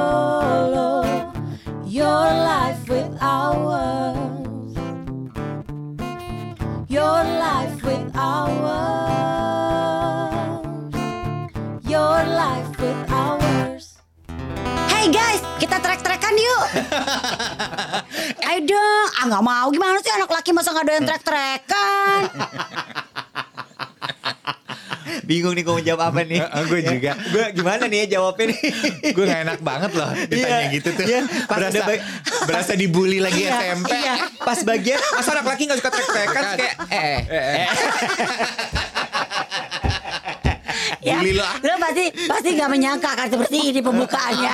YOLO, your life with ours, your life with ours, your life with ours. Hey guys, kita trek-trekan yuk. Ayo dong, ah nggak mau gimana sih anak laki masa nggak ada yang trek-trekan? Bingung nih gue mau jawab apa nih Eh, gue juga. Gue gimana nih ya jawabnya nih gue gak enak banget loh ditanya Iya, gitu tuh iya. Pas berasa ada ba- berasa dibully lagi Iya, SMP iya. Pas bagian Masa anak laki gak suka trek-trekan Terus kayak Eh Bully lo. Ya, Lo pasti pasti nggak menyangka kan seperti ini pembukaannya.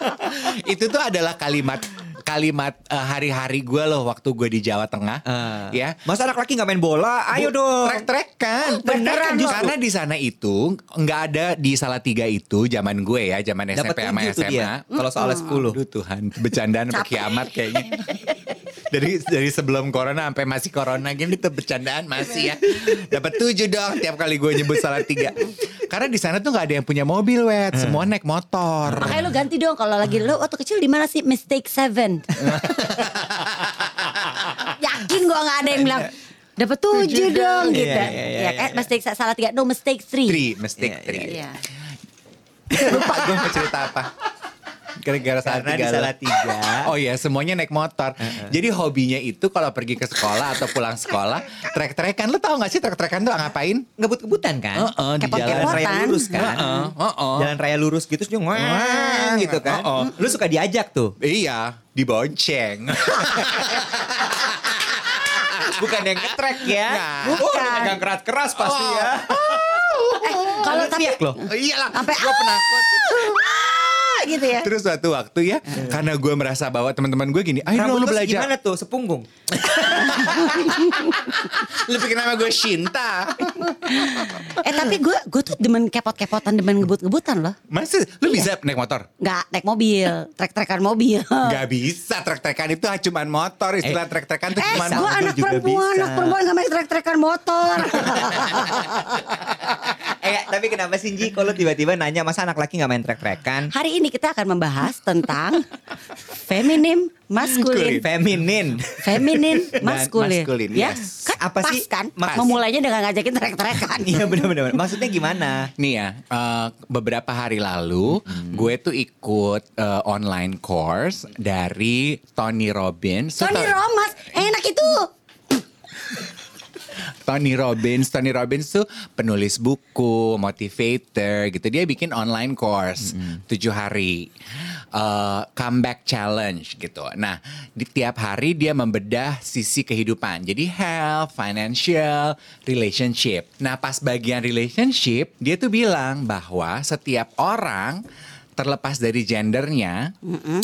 itu tuh adalah kalimat kalimat eh, hari-hari gue loh waktu gue di Jawa Tengah Ah. ya Masa anak laki gak main bola Ayo dong trek-trekan Beneran Trek-trekan loh. karena di sana itu nggak ada di Salatiga itu zaman gue ya zaman Dapat SMP sama tujuh tuh dia, SMA kalau soalnya 10. Aduh Tuhan bercandaan sampai kiamat kayaknya dari dari sebelum corona sampai masih corona gini tuh bercandaan masih ya dapat tujuh dong tiap kali gue nyebut Salatiga karena di sana tuh nggak ada yang punya mobil wet Hmm. semua naik motor Makanya lo ganti dong kalau lagi lo waktu kecil di mana sih mistake seven? Yakin gua nggak ada yang bilang dapat tujuh dong dong." gitu. Iya, iya, iya, ya kan mistake sa- salah tiga, no mistake three. Tri, mistake Iya, tri. Iya. Lupa gue mau cerita apa. Gara-gara Karena di Salatiga lo. Salatiga Oh iya, semuanya naik motor. Jadi hobinya itu kalau pergi ke sekolah atau pulang sekolah, trek-trekan. Lu tau gak sih trek-trekan tuh ngapain? ngebut-ngebutan kan Heeh, Jalan di Kepot-kepotan. raya lurus kan Heeh, heeh. Jalan raya lurus gitu Terus dia ngweng gitu kan Heeh. Lu suka diajak tuh Iya, dibonceng. Bukan yang ngetrek ya Nggak. Oh, Bukan. Pegang keras-keras pasti Oh. ya Eh kalau Lu tapi teriak loh Iya lah, Sampai, gue penakut. ah, gitu ya. Terus suatu waktu ya, karena gue merasa bahwa teman-teman gue gini, ayo dong Rambut lu lu belajar. gimana tuh Sepunggung Lu pikir nama gue Shinta. Eh tapi gue gue tuh demen kepot-kepotan, demen ngebut-ngebutan loh. Masih, lu bisa naik motor? Nggak naik mobil, trek-trekan mobil. Gak bisa, trek-trekan itu cuma motor. Istilah trek-trekan itu Eh, cuma gue mobil anak juga perempuan, bisa. anak perempuan gak main trek-trekan motor. Eh tapi kenapa sih Ji Kalau tiba-tiba nanya Masa anak laki gak main trek-trekan Hari ini kita akan membahas tentang feminim, maskulin, Feminin feminin, Dan maskulin. maskulin, ya, yes. kan Apa apa sih? sih? Kan Mas. memulainya dengan ngajakin trek-trekan. Iya bener-bener Maksudnya gimana Nih ya, eh, beberapa hari lalu gue tuh ikut eh, online course dari Tony Robbins. Tuh, Tony Ton- Romas, enak itu. Tony Robbins, Tony Robbins tuh penulis buku, motivator gitu. Dia bikin online course tujuh hari, Eh, comeback challenge gitu. Nah, di tiap hari dia membedah sisi kehidupan. Jadi health, financial, relationship. Nah, pas bagian relationship, dia tuh bilang bahwa setiap orang terlepas dari gendernya,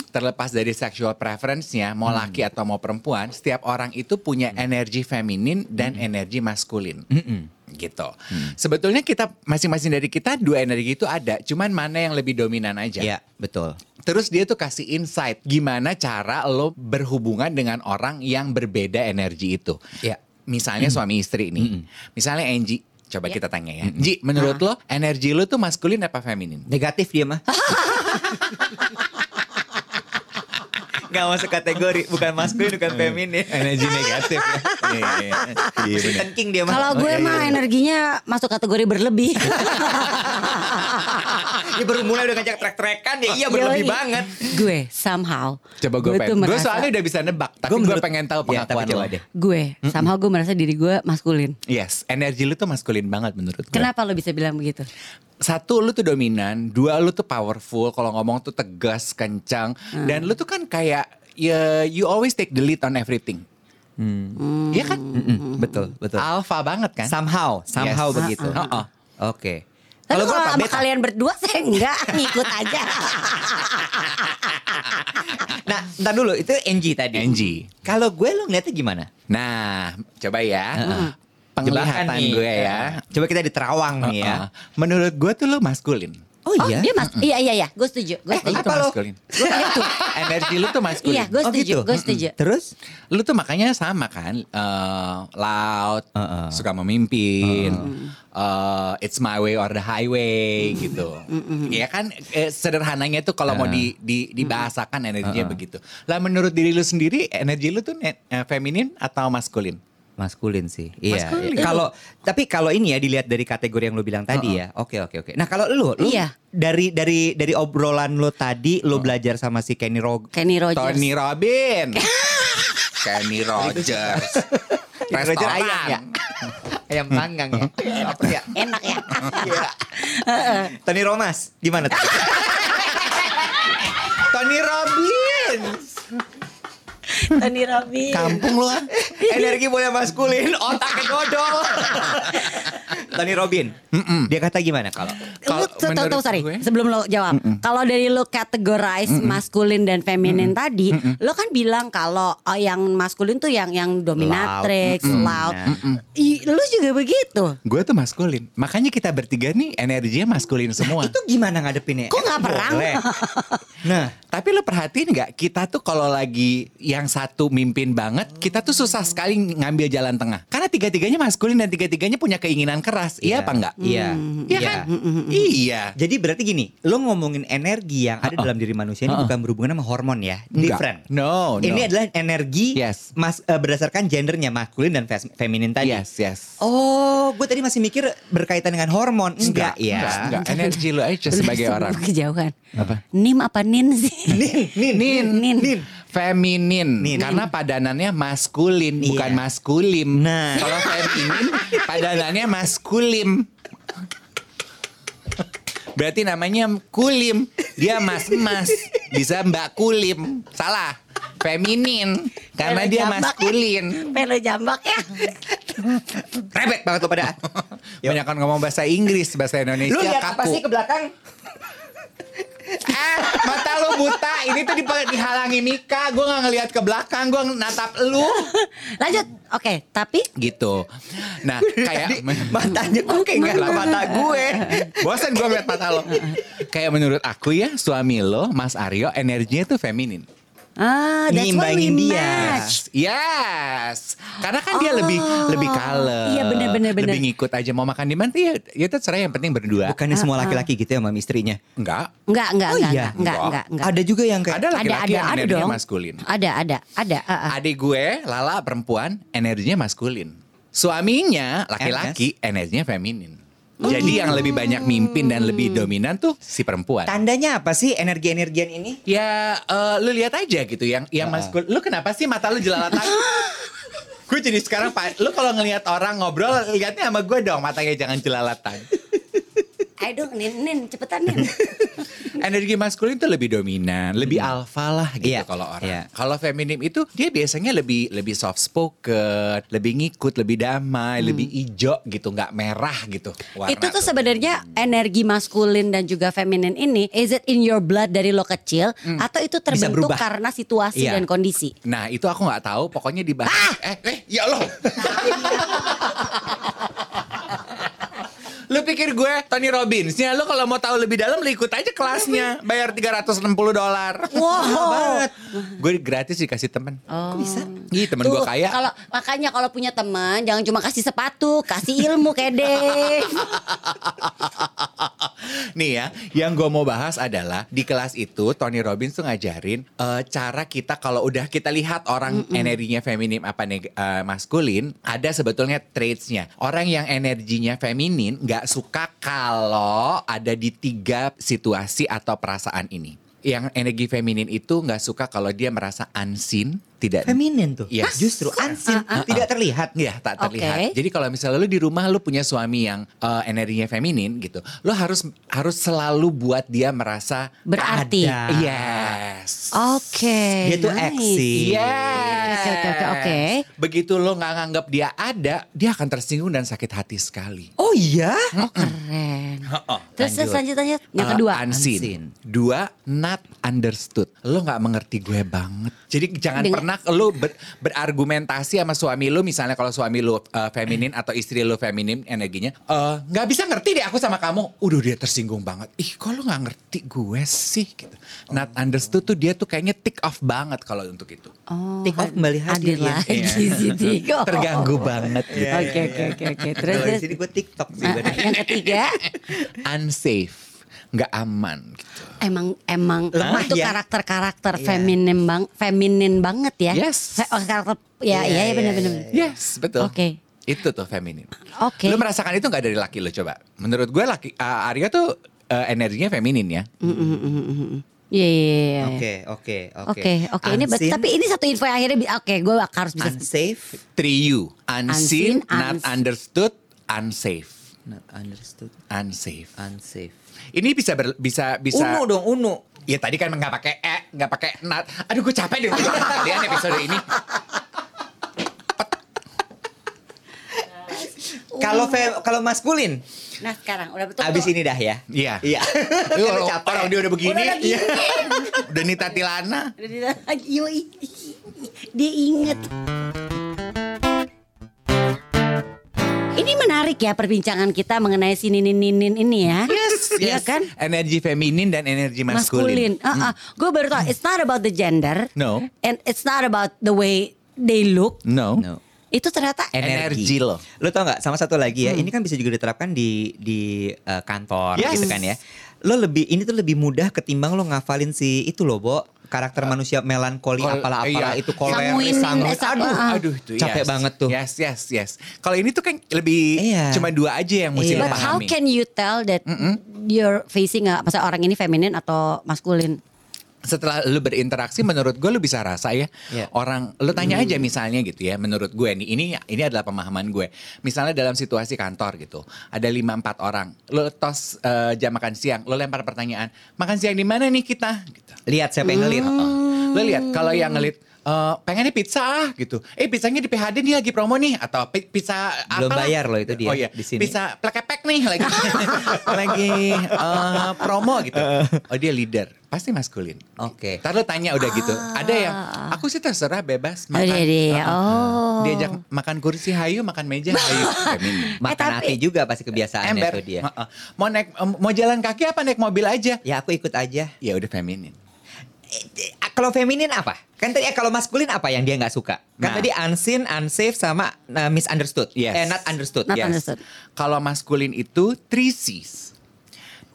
terlepas dari sexual preference-nya, mau laki atau mau perempuan, setiap orang itu punya energi feminin dan energi maskulin. Gitu. Mm. Sebetulnya kita masing-masing dari kita dua energi itu ada, cuman mana yang lebih dominan aja. Iya betul Terus dia tuh kasih insight gimana cara lo berhubungan dengan orang yang berbeda energi itu. Iya. Misalnya suami istri nih. Misalnya Angie, coba Iya. kita tanya ya. Ji, menurut Ah. lo energi lo tuh maskulin apa feminin? Negatif dia mah. Gak masuk kategori, bukan maskulin, bukan feminin. energi negatif ya. Iya, iya, iya. Iya, bener. Kristen King dia mah. Kalau gue iya. mah energinya masuk kategori berlebih. Dia baru mulai udah ngajak trek-trekan ya, iya berlebih Yoi. banget. Gue somehow. Coba tuh gue pengen. Gue merasa- soalnya udah bisa nebak, tapi Gua gue menurut- pengen Iya, tahu tapi pengakuan coba lo. deh. Gue somehow gue merasa diri gue maskulin. Yes, energi lu tuh maskulin banget menurut gue. Kenapa lo bisa bilang begitu? Satu lu tuh dominan, dua lu tuh powerful, kalau ngomong tuh tegas, kencang, Hmm. dan lu tuh kan kayak ya you always take the lead on everything. Iya kan? Hmm. Betul, Hmm. betul. Alpha banget kan? Somehow, somehow Yes. begitu. Oh, Ah, ah. Oke. Tapi gue kalau apa? sama Beta. kalian berdua saya enggak ngikut aja. Nah, ntar dulu, itu Angie tadi. Angie. Kalau gue lo ngeliatnya gimana? Nah, coba ya. Jebakan Penglihatan nih. gue ya. Coba kita diterawang nih ya. Uh-uh. Menurut gue tuh lu maskulin. Oh iya? Eh, dia mas, iya iya iya, gue setuju. Gue Lu setuju. tuh Eh, apa lo? maskulin. gitu. Gue setuju. Energi lu tuh maskulin. Iya, gue Oh, setuju. gitu? Gue setuju. Terus? Lu tuh makanya sama kan, eh, loud, Heeh. suka memimpin, eh, it's my way or the highway gitu. Iya kan, eh, sederhananya tuh kalau mau di, di- dibahasakan energinya begitu. Lah menurut diri lu sendiri, energi lu tuh ne- eh, feminin atau maskulin? Maskulin sih. Iya. Maskulin. Kalau tapi kalau ini ya dilihat dari kategori yang lu bilang tadi ya. Oke oke oke. Nah, kalau lu lu Iya. dari dari dari obrolan lu tadi lu belajar sama si Kenny Rog Kenny Rogers. Tony Robin, Kenny Rogers, Kenny Rogers ayam ya. restoran. ayam panggang ya. Apa ya? Enak ya. Tony Romas, gimana tuh? Tony Robin, Tony Robbins. kampung lu ah. Energi boleh maskulin, otaknya dodol. Tony Robin, dia kata gimana kalau? Lu Kalau tahu tahu menurut sorry gue- sebelum lo jawab kalau dari lo categorize maskulin dan feminin tadi lo kan bilang kalau oh, yang maskulin tuh yang yang dominatrix Mm-mm. loud Nah. I- lo juga begitu Gue tuh maskulin. Makanya kita bertiga nih energinya maskulin semua. Itu gimana ngadepinnya? Kok Emang nggak perang? boleh? Nah, Tapi lo perhatiin nggak kita tuh kalau lagi yang satu mimpin banget, kita tuh susah sekali ngambil jalan tengah. Karena tiga-tiganya maskulin dan tiga-tiganya punya keinginan keras. Iya apa enggak? Iya. Iya kan? Iya. Jadi berarti gini, lo ngomongin energi yang ada dalam diri manusia ini bukan berhubungan sama hormon ya, Enggak. different. No, no. Ini adalah energi Yes. mas eh, berdasarkan gendernya maskulin dan fes- feminin tadi. Yes, yes. Oh, gue tadi masih mikir berkaitan dengan hormon. Enggak, ya. Enggak, enggak. iya. Energi lo aja sebagai Lo orang. kejauhan nim apa nin sih Nin, nin, Nin, Nin. feminin, Nin. karena padanannya maskulin, Iya. bukan maskulim. Nah. Kalau feminin, padanannya maskulim. Berarti namanya kulim, dia mas emas, bisa mbak kulim, salah. Feminin, karena dia Jambak. maskulin. pelo jambak ya Rebek banget lo pada. Yuk. Banyak kan ngomong bahasa Inggris, bahasa Indonesia Lu lihat kaku. apa sih ke belakang? Eh, mata lu buta, ini tuh dipa- dihalangi Mika, gue gak ngelihat ke belakang, gue natap lu. lanjut oke tapi Gitu. Nah, kayak... Matanya gue kayak nggak ke mata gue. Bosan gue ngeliat mata lo. Kayak menurut aku ya suami lo, Mas Aryo, energinya tuh feminin. ah that's why we Ngimbangin dia. match Yes, karena kan dia Oh. lebih lebih kalem. Iya, bener, bener, bener. Lebih ngikut aja mau makan di mana? Ya, ya terserah yang penting berdua. Bukannya semua laki-laki gitu ya sama istrinya. Enggak. Enggak, enggak, Oh, enggak, iya. enggak, enggak, enggak, enggak. Ada juga yang kayak Ada laki-laki ada, yang ada energinya dong. maskulin. Ada, ada, ada. ah, ah. Adik gue, Lala perempuan, energinya maskulin. Suaminya laki-laki, energinya feminin. Oh Jadi gitu. yang lebih banyak mimpin dan lebih dominan tuh si perempuan. Tandanya apa sih energi-energian ini? Ya eh, lu lihat aja gitu yang yang maskul. Lu kenapa sih mata lu jelalatan? gue jadi sekarang Pak, lu kalau ngelihat orang ngobrol lihatnya sama gue dong matanya jangan jelalatan. Ayo dong, nin, nin, cepetan nin. Energi maskulin itu lebih dominan, lebih alfa lah gitu Hmm. Iya, kalau orang. iya. Kalau feminim itu dia biasanya lebih lebih soft spoken, lebih ngikut, lebih damai, lebih ijo gitu, nggak merah gitu. warna itu tuh sebenarnya energi maskulin dan juga feminin ini is it in your blood dari lo kecil atau itu terbentuk berubah. karena situasi Iya. dan kondisi? Nah itu aku nggak tahu, pokoknya dibahas. Eh, eh, ya Allah. lu pikir gue Tony Robbins ya lu kalau mau tahu lebih dalam lu ikut aja kelasnya bayar 360 dolar Wow. banget gue gratis dikasih temen Oh. bisa? Ih temen gue kaya Kalau makanya kalau punya teman jangan cuma kasih sepatu, kasih ilmu kayak deh. Nih ya, yang gue mau bahas adalah di kelas itu Tony Robbins tuh ngajarin eh, cara kita kalau udah kita lihat orang energinya feminim apa neg- eh, maskulin, ada sebetulnya traitsnya. Orang yang energinya feminin nggak suka kalau ada di tiga situasi atau perasaan ini. Yang energi feminin itu nggak suka kalau dia merasa unseen, tidak Feminin tuh. Yes. Justru Ah, ansin, tidak terlihat. Iya, tak Oke. terlihat. Jadi kalau misalnya lu di rumah lu punya suami yang eh, energinya feminin gitu, lu harus harus selalu buat dia merasa Berarti. Ada. Iya. yes. Oke. Dia tuh nice. eksis. Yes. Oke, oke, oke, oke. Begitu lu nggak nganggap dia ada, dia akan tersinggung dan sakit hati sekali. Oh iya? Keren. Terus lanjut. selanjutnya yang Eh, kedua. unseen. Unseen. Dua, not understood. Lo nggak mengerti gue banget. Jadi jangan Dengan- pernah karena lu ber- berargumentasi sama suami lu misalnya kalau suami lu uh, feminin atau istri lu feminin energinya eh, nggak bisa ngerti deh aku sama kamu udah dia tersinggung banget ih kok lu nggak ngerti gue sih gitu not understood tuh dia tuh kayaknya tick off banget kalau untuk itu Oh, Take off melihat hadir diri. lagi Iya. si Tiko. terganggu banget gitu. Iya, Oke iya, oke oke oke. Terus Kalau di terus sini gue TikTok sih. Nah, bener. yang ketiga Iya. unsafe nggak aman gitu. emang emang Lemah itu ya. karakter-karakter feminin bang feminin banget ya. Yes. Fe- oh, karakter ya iya Iya, ya, iya, benar benar. iya, Yes, betul. Oke. Itu tuh feminin. Oke. Lu merasakan itu nggak dari laki lu coba? Menurut gue laki uh, Arya tuh uh, energinya feminin ya. Mm, mm, mm, mm, mm. Iya iya iya, iya. Oke, oke, oke. Oke oke ini bet- Unseen, tapi ini satu info yang akhirnya bi- oke gue harus bisa unsafe, Triu, unseen, Unseen, not uns- understood, unsafe, not understood, unsafe. unsafe. Ini bisa ber- bisa bisa Uno dong, Uno. Ya tadi kan nggak pakai e, nggak pakai not. Aduh gue capek deh udah kalian episode ini. Kalau fe- kalau maskulin, Nah sekarang udah betul. abis ini dah ya. Iya. Iya. Lu Karena orang- capek. orang dia udah begini, Udah iya. udah nita tilana. Udah di- lagi, yoi. Dia inget. Ini menarik ya perbincangan kita mengenai si Ninin Ninin ini ya. Yes, iya Yes, kan? Energi feminin dan energi maskulin. Hmm. Maskulin. Gue baru tau. It's not about the gender. No. And it's not about the way they look. No. No. Itu ternyata Energi lo. Lo tau nggak? Sama satu lagi ya. Ini kan bisa juga diterapkan di di eh, kantor, Yes. gitu kan ya. Lo lebih ini tuh lebih mudah ketimbang lo ngafalin si itu lo, Bo. Karakter manusia melankoli Kol- apalah-apalah iya. itu koler, Sanguin, sanguin. eh, sang- Aduh, Ah. Aduh, itu Capek yes. banget tuh. Yes, yes, yes. Kalau ini tuh kan lebih Iya. cuma dua aja yang mesti Iya. lo But how pahami. can you tell that you're facing a, masa orang ini feminin atau maskulin? Setelah lo berinteraksi, menurut gue lo bisa rasa ya Iya. orang. Lo tanya aja misalnya gitu ya. Menurut gue nih, ini ini adalah pemahaman gue. Misalnya dalam situasi kantor gitu, ada lima empat orang. Lo tos eh, jam makan siang, lo lempar pertanyaan, makan siang di mana nih kita? Gitu. Lihat siapa yang ngelir. Oh. Hmm. Lo lihat kalau yang ngelit eh, pengennya pizza ah gitu. Eh pizzanya di PHD nih lagi promo nih atau pi- pizza apa? Belum bayar loh itu dia, Oh iya. di sini. Pizza plekepek nih lagi lagi eh, promo gitu. Oh dia leader. Pasti maskulin. Oke. Ah. Ntar lo tanya udah gitu. Ada yang aku sih terserah bebas makan. Ada dia. Uh-uh. Oh. Diajak makan kursi hayu, makan meja hayu. Feminin. Makan tapi- hati juga pasti kebiasaannya Ember. tuh dia. Uh-uh. Mau naik mau jalan kaki apa naik mobil aja? Ya aku ikut aja. Ya udah feminin. Eh, Kalau feminin apa? Kan tadi eh, kalau maskulin apa yang dia nggak suka? Kan Nah. tadi unseen, unsafe sama eh, misunderstood. Eh Yes. not understood. Not Yes. understood. Kalau maskulin itu three C's.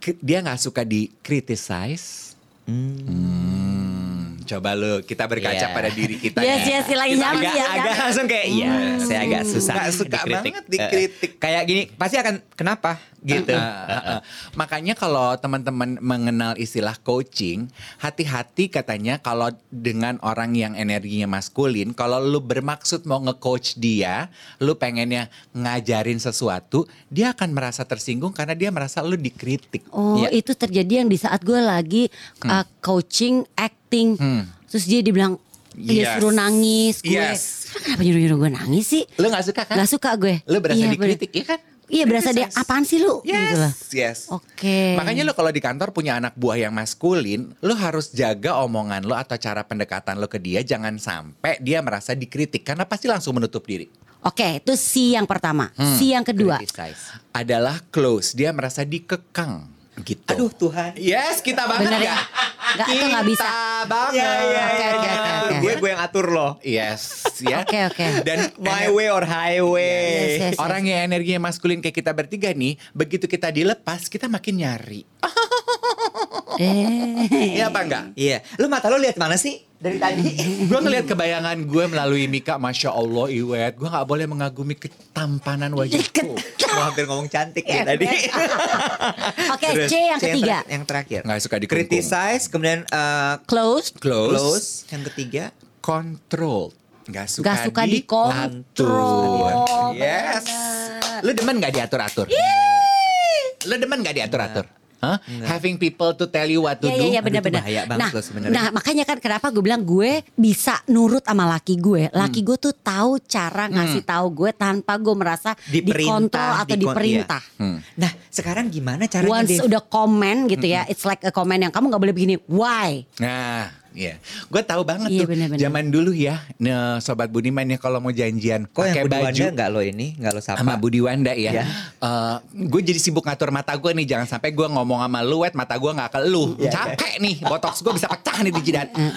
Ke- Dia nggak suka di criticize. Hmm, Coba lu kita berkaca Yeah. pada diri kita. Yes, ya. yes, silahkan Hmm. Kita nyaman agak- ya. agak langsung kayak iya saya agak susah Nggak suka banget dikritik. Eh, kayak gini pasti akan kenapa gitu Gitu. Makanya kalau teman-teman mengenal istilah coaching, hati-hati katanya kalau dengan orang yang energinya maskulin, kalau lu bermaksud mau nge-coach dia, lu pengennya ngajarin sesuatu, dia akan merasa tersinggung karena dia merasa lu dikritik. Oh Iya. itu terjadi yang di saat gue lagi Hmm. uh, coaching acting Terus dia dibilang Yes. Dia suruh nangis gue Yes. "Lu Kenapa nyuruh-nyuruh gue nangis sih Lu gak suka kan? Gak suka gue Lu berasa Iya, dikritik, bener. iya kan? Iya berasa dia Criticize. apaan sih lu Yes, Gitu lah. yes. Oke Makanya lu kalau di kantor punya anak buah yang maskulin, lu harus jaga omongan lu atau cara pendekatan lu ke dia jangan sampai dia merasa dikritik karena pasti langsung menutup diri. Oke itu si yang pertama Si Hmm. yang kedua Criticize. Adalah close, dia merasa dikekang gitu. aduh Tuhan Yes, kita banget Bener ya nggak? Gak tuh gak bisa Kita banget. Iya, Oke, iya. oke, oke, oke. gue gue yang atur loh Yes, ya. Oke, oke. Dan my way or highway Yes, yes. Orang yang energinya maskulin kayak kita bertiga nih, begitu kita dilepas, kita makin nyari. gitu. Eh. Iya apa enggak? iya lu mata lu lihat mana sih dari tadi Gue ngeliat kebayangan gue melalui Mika, Masya Allah Iwet. Gue gak boleh mengagumi ketampanan wajahku. Gua hampir ngomong cantik ya Iya, tadi Oke Terus, C yang ketiga ter- yang terakhir Nggak suka dikungkung. criticize kemudian eh, Close Close. close yang ketiga Control. Gak suka, Gak suka dikontrol. diatur. Yes. Lu demen gak diatur-atur? Lu demen gak diatur-atur? Hah? Having people to tell you what to Iya do. iya iya Aduh, benar-benar. itu bahaya banget Nah, loh sebenarnya. nah makanya kan kenapa gue bilang gue bisa nurut sama laki Hmm. gue. Laki gue tuh tahu cara ngasih tahu gue tanpa gue merasa dikontrol atau dikon- diperintah. iya. Hmm. Nah, sekarang gimana caranya Hmm, Once Dev? udah komen gitu ya, it's like a comment yang kamu nggak boleh begini. Why? Nah, Iya, gue tahu banget Iya, tuh benar-benar. zaman dulu ya, ne, sobat Budiman ya kalau mau janjian Kok pakai yang berdua baju Anda nggak lo ini, nggak lo sapa? sama Budi Wanda Iya. ya. gue jadi sibuk ngatur mata gue nih, jangan sampai gue ngomong sama lu, wet mata gue nggak ke lu. Iya. Capek nih, botox gue bisa pecah nih di jidat. Mm,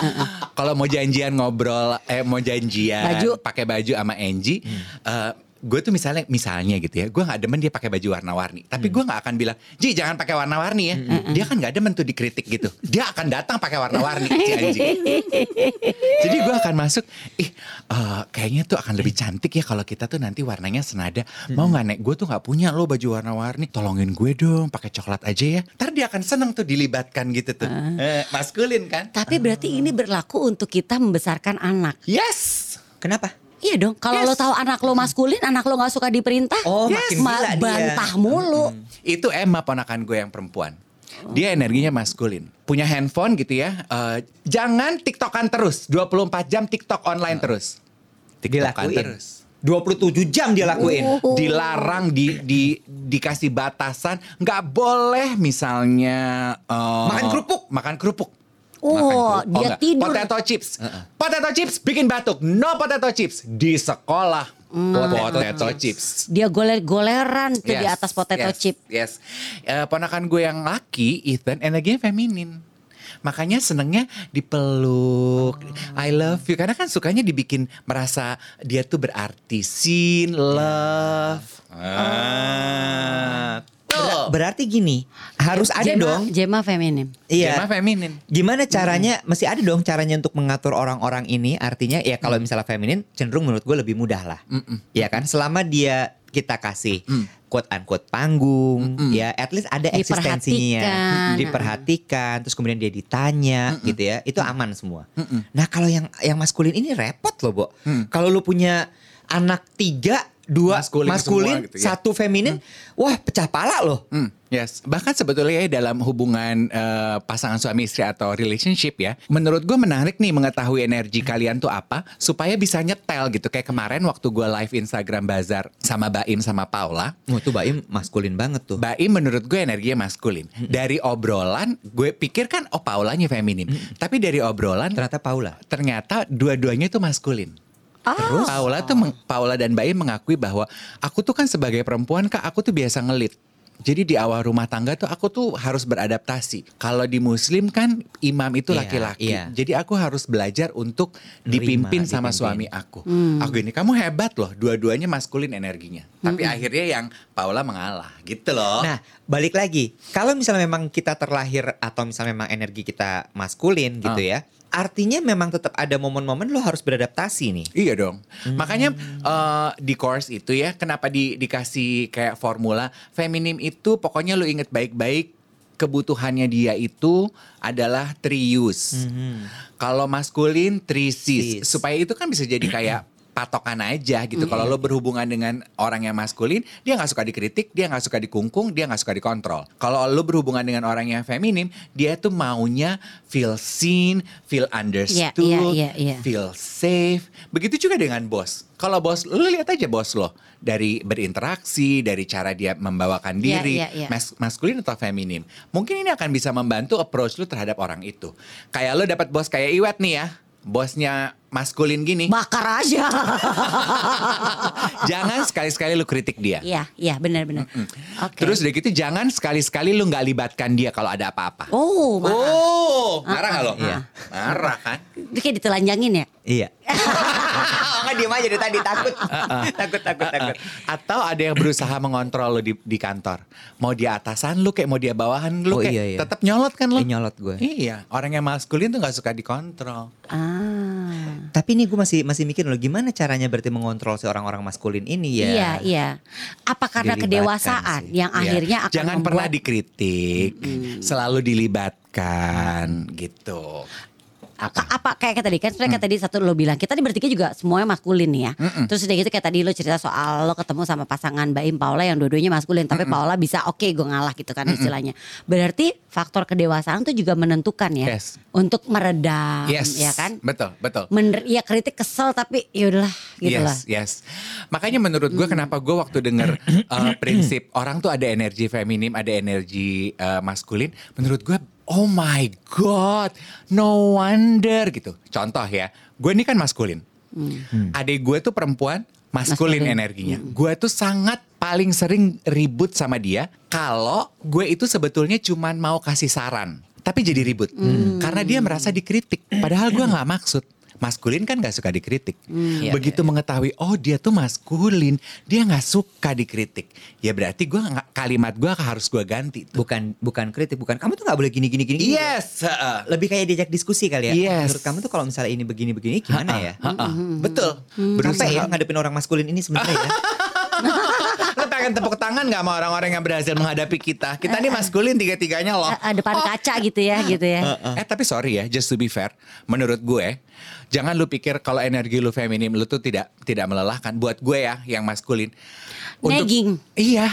Kalau mau janjian ngobrol, eh mau janjian Baju. pakai baju sama Angie. Hmm. eh, gue tuh misalnya misalnya gitu ya gue nggak demen dia pakai baju warna-warni tapi Hmm. gue nggak akan bilang Ji jangan pakai warna-warni Mm, ya dia kan nggak demen tuh dikritik gitu dia akan datang pakai warna-warni si anjing jadi gue akan masuk, ih eh, kayaknya tuh akan lebih cantik ya kalau kita tuh nanti warnanya senada. Mau nggak nek? Gue tuh nggak punya lo baju warna-warni. Tolongin gue dong, pakai coklat aja ya. Ntar dia akan seneng tuh dilibatkan gitu tuh. Eh, maskulin kan? Tapi berarti ini berlaku untuk kita membesarkan anak. Yes. Kenapa? Nah, Iya dong, kalau Yes. lo tahu anak lo maskulin, anak lo nggak suka diperintah, Oh, makin ma- gila dia. bantah mulu. Itu Emma ponakan gue yang perempuan. Dia energinya maskulin. Punya handphone gitu ya. eh, jangan tiktokan terus. 24 jam tiktok online terus. Dilakuin. Tiktokan terus. 27 jam dia lakuin. Uhuh. dilarang di di dikasih batasan nggak boleh misalnya eh, Makan kerupuk. makan kerupuk Oh, Makan kerupuk. dia nggak. tidur. Potato chips. Potato chips bikin batuk. No potato chips di sekolah. Hmm, Potato, chips. Dia goler-goleran tuh di Yes, atas potato yes, chip. Yes. Eh, ponakan gue yang laki, Ethan, energinya feminin. Makanya senengnya dipeluk, I love you. Karena kan sukanya dibikin merasa dia tuh berarti sin, love. Oh. Ah. Ber- berarti gini, harus ada Jema- dong. Jema feminim. Iya. Jema feminin. Gimana caranya? Mesti ada dong caranya untuk mengatur orang-orang ini. Artinya ya kalau misalnya feminin cenderung menurut gue lebih mudah lah. Ya kan? Selama dia kita kasih quote unquote panggung, ya at least ada Diperhatikan. eksistensinya, diperhatikan, terus kemudian dia ditanya gitu ya. Itu aman semua. Nah, kalau yang yang maskulin ini repot loh, Bo. Kalau lu punya anak tiga dua Maskulin Hmm. maskulin, semua gitu ya. satu feminin, wah pecah pala loh. Hmm, yes. Bahkan sebetulnya ya dalam hubungan eh, pasangan suami istri atau relationship ya, menurut gue menarik nih mengetahui energi kalian tuh apa supaya bisa nyetel gitu. Kayak kemarin waktu gue live Instagram Bazar sama Baim sama Paula, Wah, tuh Baim maskulin banget tuh. Baim menurut gue energinya maskulin. Dari obrolan, gue pikir kan oh Paulanya feminin. Tapi dari obrolan Ternyata Paula. ternyata dua-duanya itu maskulin. Terus Paula tuh meng- Paula dan Baim mengakui bahwa aku tuh kan sebagai perempuan kak aku tuh biasa ngelit. Jadi di awal rumah tangga tuh aku tuh harus beradaptasi. Kalau di Muslim kan imam itu Iya, laki-laki. iya. Jadi aku harus belajar untuk Nerima, dipimpin dipimpin. sama Hmm. suami aku. Aku ini kamu hebat loh, dua-duanya maskulin energinya. Tapi Hmm. akhirnya yang Paula mengalah gitu loh. Nah, balik lagi. Kalau misalnya memang kita terlahir atau misalnya memang energi kita maskulin gitu ya. Artinya memang tetap ada momen-momen lo harus beradaptasi nih. Iya dong. Hmm. Makanya eh, di course itu ya, kenapa di, dikasih kayak formula feminim itu pokoknya lu inget baik-baik kebutuhannya dia itu adalah trius. Hmm. Kalau maskulin Sis. trisis supaya itu kan bisa jadi kayak patokan aja gitu. Hmm. Kalau lo berhubungan dengan orang yang maskulin, dia nggak suka dikritik, dia nggak suka dikungkung, dia nggak suka dikontrol. Kalau lo berhubungan dengan orang yang feminim, dia tuh maunya feel seen, feel understood, iya, iya. feel safe. Begitu juga dengan bos. Kalau bos, lu lihat aja bos lo dari berinteraksi, dari cara dia membawakan Iya, diri, iya, iya. mas- maskulin atau feminim. Mungkin ini akan bisa membantu approach lu terhadap orang itu. Kayak lo dapat bos kayak Iwet nih ya, bosnya maskulin gini. Bakar aja. jangan sekali-sekali lu kritik dia. Iya, iya benar-benar. Oke. Terus udah gitu jangan sekali-sekali lu nggak libatkan dia kalau ada apa-apa. Oh, marah. Oh, marah nggak lo? Iya. Marah kan? Dia kayak ditelanjangin ya? Iya. Enggak diem aja dari tadi takut. takut takut takut. Ah, Atau ada yang berusaha mengontrol lo di, di kantor. Mau dia atasan lu kayak mau dia bawahan Oh, lu kayak iya, iya. tetap nyolot kan lo? Eh, nyolot gue. Iya, orang yang maskulin tuh nggak suka dikontrol. Ah. Tapi ini gue masih masih mikir loh gimana caranya berarti mengontrol si orang-orang maskulin ini ya. Iya, iya. Apa karena Dilibatkan kedewasaan sih. yang Iya. akhirnya akan Jangan membuat- pernah dikritik, selalu dilibatkan gitu. apa, apa kayak tadi kan sebenarnya kayak tadi satu lo bilang kita di bertiga juga semuanya maskulin nih ya. Terus udah gitu kayak tadi lo cerita soal lo ketemu sama pasangan Baim Paula yang dua-duanya maskulin tapi Paula bisa oke gue ngalah gitu kan istilahnya. Berarti faktor kedewasaan tuh juga menentukan ya Yes. untuk meredam Yes, ya kan. Betul, betul. Mener ya kritik kesel tapi yaudahlah gitu yes, lah. Hmm. yes. Makanya menurut gue kenapa gue waktu denger eh, prinsip orang tuh ada energi feminim, ada energi eh, maskulin. Menurut gue oh my god, no wonder gitu. Contoh ya, gue ini kan maskulin. Adik gue tuh perempuan, Hmm. maskulin, Maskulin. energinya. Gue tuh sangat paling sering ribut sama dia kalau gue itu sebetulnya cuman mau kasih saran, tapi jadi ribut Hmm. karena dia merasa dikritik. Padahal gue nggak maksud. Maskulin kan gak suka dikritik. Iya, Begitu mengetahui oh dia tuh maskulin, dia nggak suka dikritik. Ya berarti gue nggak- kalimat gue harus gue ganti tuh. bukan bukan kritik bukan kamu tuh nggak boleh gini gini gini gini. Yes, heeh. lebih kayak diajak diskusi kali ya Yes. menurut kamu tuh kalau misalnya ini begini begini gimana ya Heeh. betul. Berusaha Berusaha. ya ngadepin orang maskulin ini sebenarnya ya. Lo pengen tepuk tangan gak sama orang-orang yang berhasil menghadapi kita? Kita Eh, nih maskulin tiga-tiganya loh. Eh, eh, depan kaca gitu ya gitu ya. Eh tapi sorry ya, just to be fair, menurut gue, jangan lu pikir kalau energi lu feminim lu tuh tidak tidak melelahkan. Buat gue ya, yang maskulin. Nagging. Iya.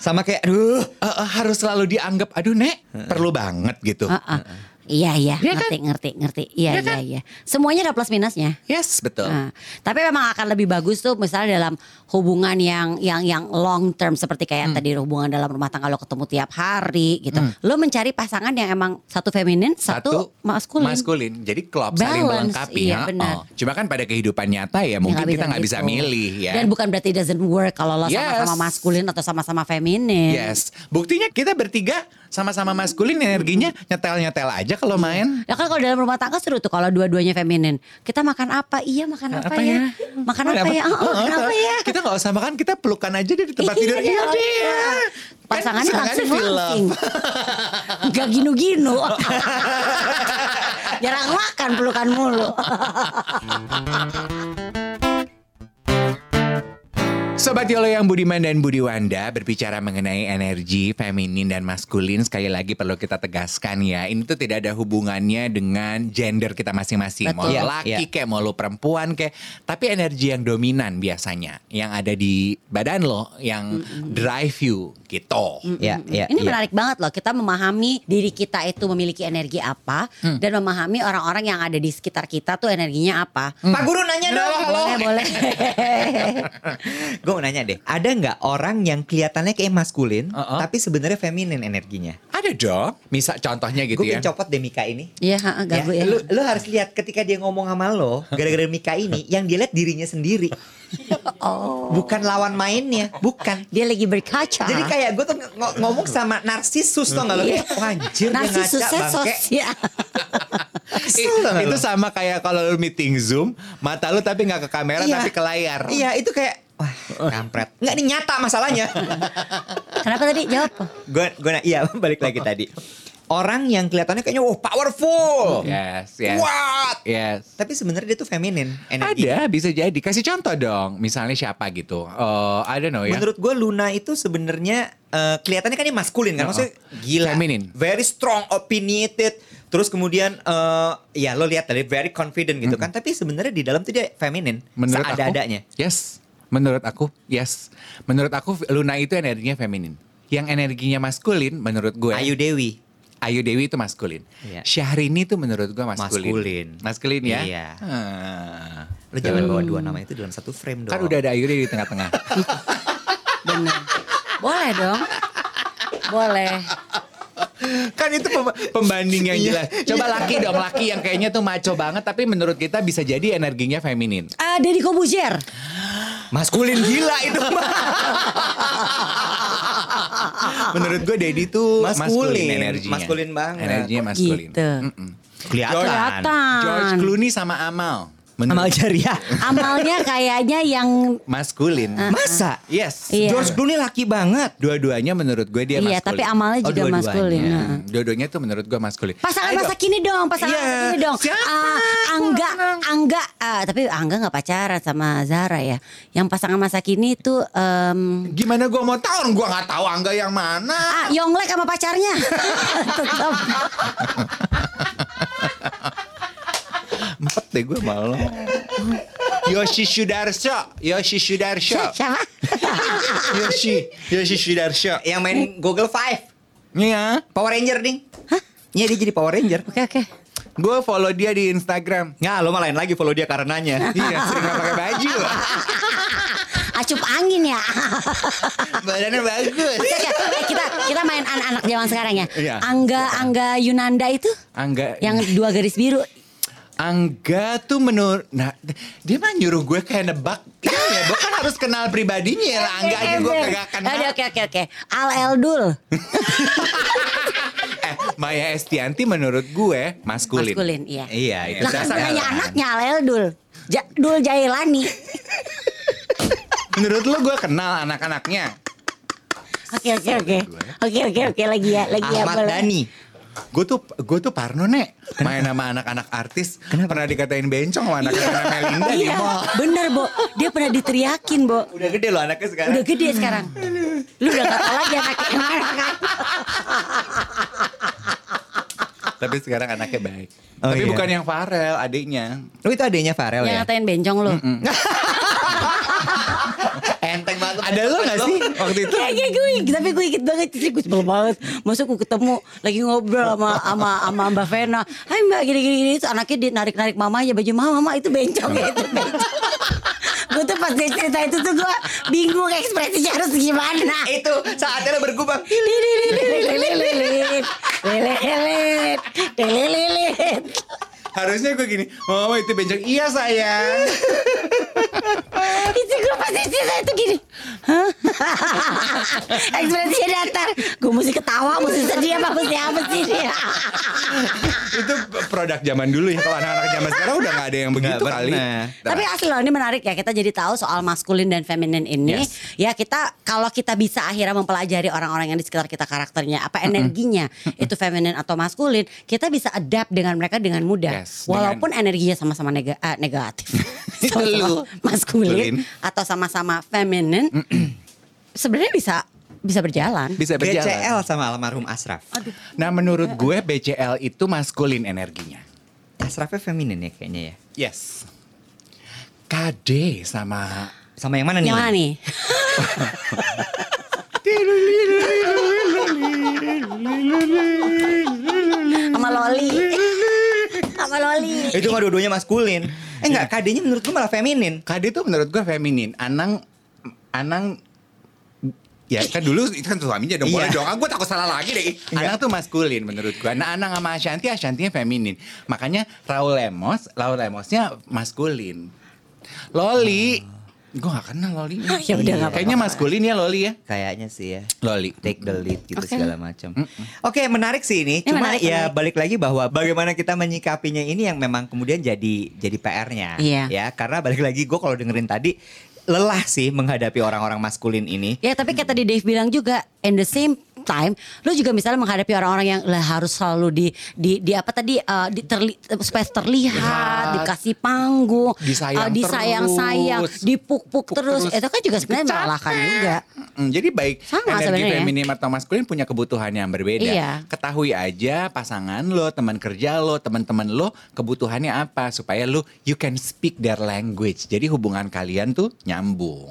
Sama kayak aduh Eh, eh, harus selalu dianggap, aduh nek, perlu banget gitu. Heeh. Iya iya Iya kan? ngerti ngerti ngerti. Iya Iya iya kan? iya. Semuanya ada plus minusnya. Yes, betul. Nah, tapi memang akan lebih bagus tuh misalnya dalam hubungan yang yang yang long term seperti kayak Hmm. tadi hubungan dalam rumah tangga lo ketemu tiap hari gitu. Lo mencari pasangan yang emang satu feminin, satu, maskulin. Jadi klop saling Balance, melengkapi. iya, ha-oh. benar. Cuma kan pada kehidupan nyata ya mungkin kita nggak bisa gitu. milih ya. Dan bukan berarti it doesn't work kalau lo sama-sama Yes. maskulin atau sama-sama feminin. Yes, buktinya kita bertiga sama-sama maskulin energinya nyetel-nyetel aja kalau main. Ya kan kalau dalam rumah tangga seru tuh kalau dua-duanya feminin. Kita makan apa? Iya makan apa, Apa ya? ya? Makan apa, ya? Oh, makan apa ya? Kita nggak usah makan, kita pelukan aja deh di tempat tidur. Iya Iya. deh. Pasangannya Kan langsung sedangkan feel langsing. Gak ginu-ginu. Jarang makan pelukan mulu. Sobat Yolo yang Budiman dan Budiwanda berbicara mengenai energi feminin dan maskulin sekali lagi perlu kita tegaskan ya ini tuh tidak ada hubungannya dengan gender kita masing-masing mau Betul. lu laki Iya, iya. kayak mau lu perempuan kayak tapi energi yang dominan biasanya yang ada di badan lo yang drive you gitu Mm. ya ya Ini ya. menarik banget loh. Kita memahami diri kita itu memiliki energi apa Hmm. dan memahami orang-orang yang ada di sekitar kita tuh energinya apa. Pak Guru nanya dong Boleh boleh. Gue mau nanya deh Ada nggak orang yang kelihatannya kayak maskulin Uh-uh. Tapi sebenarnya feminin energinya ada dong misal contohnya gitu Gue ya pengen copot deh Mika ini Iya, ha, ganggu ya. Lu, lu harus lihat ketika dia ngomong sama lo Gara-gara Mika ini Yang dia lihat dirinya sendiri Oh. Bukan lawan mainnya Bukan Dia lagi berkaca. Jadi kayak gue tuh ng- ngomong sama narsisus tau gak lo Iya. Wah, Anjir dia nasi ngaca susah ya. bangke sosial. Eh, itu sama kayak kalau lu meeting zoom mata lu tapi nggak ke kamera Iya. tapi ke layar Iya itu kayak Wah kampret Nggak nih nyata masalahnya Kenapa tadi jawab? Gue gue na- Iya balik lagi tadi Orang yang kelihatannya kayaknya Wah powerful yes yes What yes Tapi sebenarnya dia tuh feminin energi. Ada bisa jadi. Kasih contoh dong. Misalnya siapa gitu. Eh I don't know ya. Menurut gue Luna itu sebenarnya eh, kelihatannya kan dia maskulin Oh, kan maksudnya gila. Feminin. Very strong, opinionated. Terus kemudian eh, ya lo lihat tadi very confident gitu kan. Tapi sebenarnya di dalam tuh dia feminin. menurut Seada-adanya. aku. Yes. Menurut aku, yes. Menurut aku Luna itu energinya feminin. Yang energinya maskulin menurut gue. Ayu Dewi. Ayu Dewi itu maskulin. Iya. Syahrini itu menurut gue maskulin. Maskulin. Maskulin ya. Iya. Ah. Lo jangan bawa dua nama itu dalam satu frame dong. Kan udah ada Ayu Dewi di tengah-tengah. Benar. Boleh dong. Boleh. kan itu Iya. pem- pembanding yang jelas. Coba laki dong, laki yang kayaknya tuh maco banget tapi menurut kita bisa jadi energinya feminin. Ah, Deddy Kobuzier. maskulin gila itu mah. Menurut gue Dedi tuh Maskulin. maskulin, energinya. Maskulin banget. Energinya maskulin. Gitu. Mm-mm. Kelihatan. Kelihatan. George Clooney sama Amal. Amal Menurut Jariah. Amalnya kayaknya yang maskulin. Ah. Masa? Yes. Iya. George Clooney laki banget. Dua-duanya menurut gue dia Iya, maskulin. tapi amalnya Oh, juga dua-duanya. maskulin. Nah. Hmm, Dua-duanya tuh menurut gue maskulin. Pasangan Ayo. masa kini dong, pasangan Iya. masa kini dong. Siapa? Ah, angga, Angga, ah, tapi Angga nggak pacaran sama Zara ya. Yang pasangan masa kini itu em, Gimana gue mau tahu? Gue nggak tahu angga yang ah mana. Yonglek sama pacarnya. Tetap. Empat deh gue malu. Yoshi Sudarso, Yoshi Sudarso, Siapa? Yoshi, Yoshi Sudarso. Yang main Google Five. Iya, Power Ranger ding. Hah? Iya dia jadi Power Ranger. Oke oke. gue follow dia di Instagram. Ya, Nggak, lo malah lain lagi follow dia karenanya. Iya, sering nggak pakai baju. acup angin ya. Badannya bagus. Oke, oke. Eh, kita kita main anak-anak zaman sekarang ya. Iya. Angga Angga Yunanda itu Angga yang dua garis biru. Angga tuh menurut nah dia mah nyuruh gue kayak nebak ini ya gue kan harus kenal pribadinya lah Angga aja gue kagak kenal Iya, Aduh, Oke oke oke. Al Eldul. eh Maya Estianti menurut gue maskulin Maskulin, iya. iya iya Lah kan Dasar nanya kan. anaknya Al Eldul. Ja- Dul Jailani. menurut lo gue kenal anak-anaknya Oke oke oke. Oke oke oke lagi ya, lagi ya. Ahmad boleh. Dhani. gue tuh gue tuh parno nek main sama anak-anak artis pernah dikatain bencong sama anak-anak Melinda di Iya, mall bener, Bo. Dia pernah diteriakin, Bo. Udah gede loh anaknya sekarang. Udah gede sekarang. Lu udah gak tau lagi anaknya yang mana kan. tapi sekarang anaknya baik Oh, tapi iya. bukan yang Farel adiknya Oh itu adanya Farel Yang ya? ngatain bencong lu. Enteng banget. ada lo gak sih waktu itu Kayaknya gue, tapi gue ikut banget sih, gue sebel banget. Masa gue ketemu lagi ngobrol sama sama sama Mbak Vena. Hai Mbak gini gini gini terus anaknya dia narik-narik mamanya baju mama, mama itu bencong ya itu bencong. gue tuh pas dia cerita itu tuh gue bingung ekspresinya harus gimana. Itu saatnya lo bergubah. Lilililililit, lililit, lililit. harusnya gue gini mama itu bencong iya sayang Itu gue pas cerita itu gini. Hah? ekspresinya datar. Gue mesti ketawa, mesti sedih apa mesti apa sih dia. itu produk zaman dulu ya kalau anak-anak zaman sekarang udah nggak ada yang begitu Nggak kali pernah. Tapi asli loh ini menarik ya kita jadi tahu soal maskulin dan feminin ini ya kita kalau kita bisa akhirnya mempelajari orang-orang yang di sekitar kita karakternya apa energinya itu feminin atau maskulin kita bisa adapt dengan mereka dengan mudah Yes, walaupun energinya sama-sama nega- eh, negatif sama maskulin Maskulin. atau sama-sama feminin sebenarnya bisa bisa berjalan bisa berjalan BCL sama almarhum Asraf. nah menurut gue BCL itu maskulin energinya Asrafnya feminin ya kayaknya ya. yes KD sama Sama yang mana nih? yang mana nih sama loli sama loli Itu mah dua-duanya maskulin. Eh enggak, Iya. KD-nya menurut gue malah feminin. KD tuh menurut gue feminin Anang Anang Ya kan dulu itu kan suaminya dong Boleh Iya. dong ah, Gue takut salah lagi deh Iya. Anang tuh maskulin menurut gue Nah Anang sama Ashanti Ashantinya feminin Makanya Raul Lemos Raul Lemosnya maskulin Loli Gue gak kenal Loli Ah. Ya udah, nggak Kayaknya maskulin ya Loli ya Kayaknya sih ya. Loli Take the lead gitu Oke. segala macam. Oke, menarik sih ini. Ini Cuma menarik, ya menarik. balik lagi bahwa bagaimana kita menyikapinya ini yang memang kemudian jadi jadi PR-nya. Iya. Ya, karena balik lagi gue kalau dengerin tadi lelah sih menghadapi orang-orang maskulin ini. Ya tapi kayak tadi Dave bilang juga in the same time lu juga misalnya menghadapi orang-orang yang lah, harus selalu di di di apa tadi eh, di terli, supaya terlihat Lihat. dikasih panggung Disayang disayang sayang terus. dipuk-puk Puk terus. terus. itu kan juga sebenarnya melelahkan juga Mm, jadi baik Sama energi sebenarnya ya. feminim atau maskulin punya kebutuhan yang berbeda. Iya. Ketahui aja pasangan lo, teman kerja lo, teman-teman lo kebutuhannya apa supaya lo you can speak their language. Jadi hubungan kalian tuh nyambung.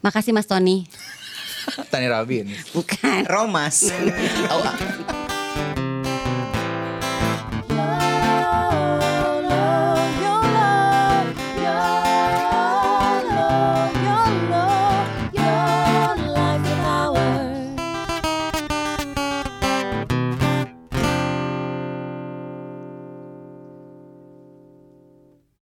makasih Mas Tony Tani Robin. bukan Romas.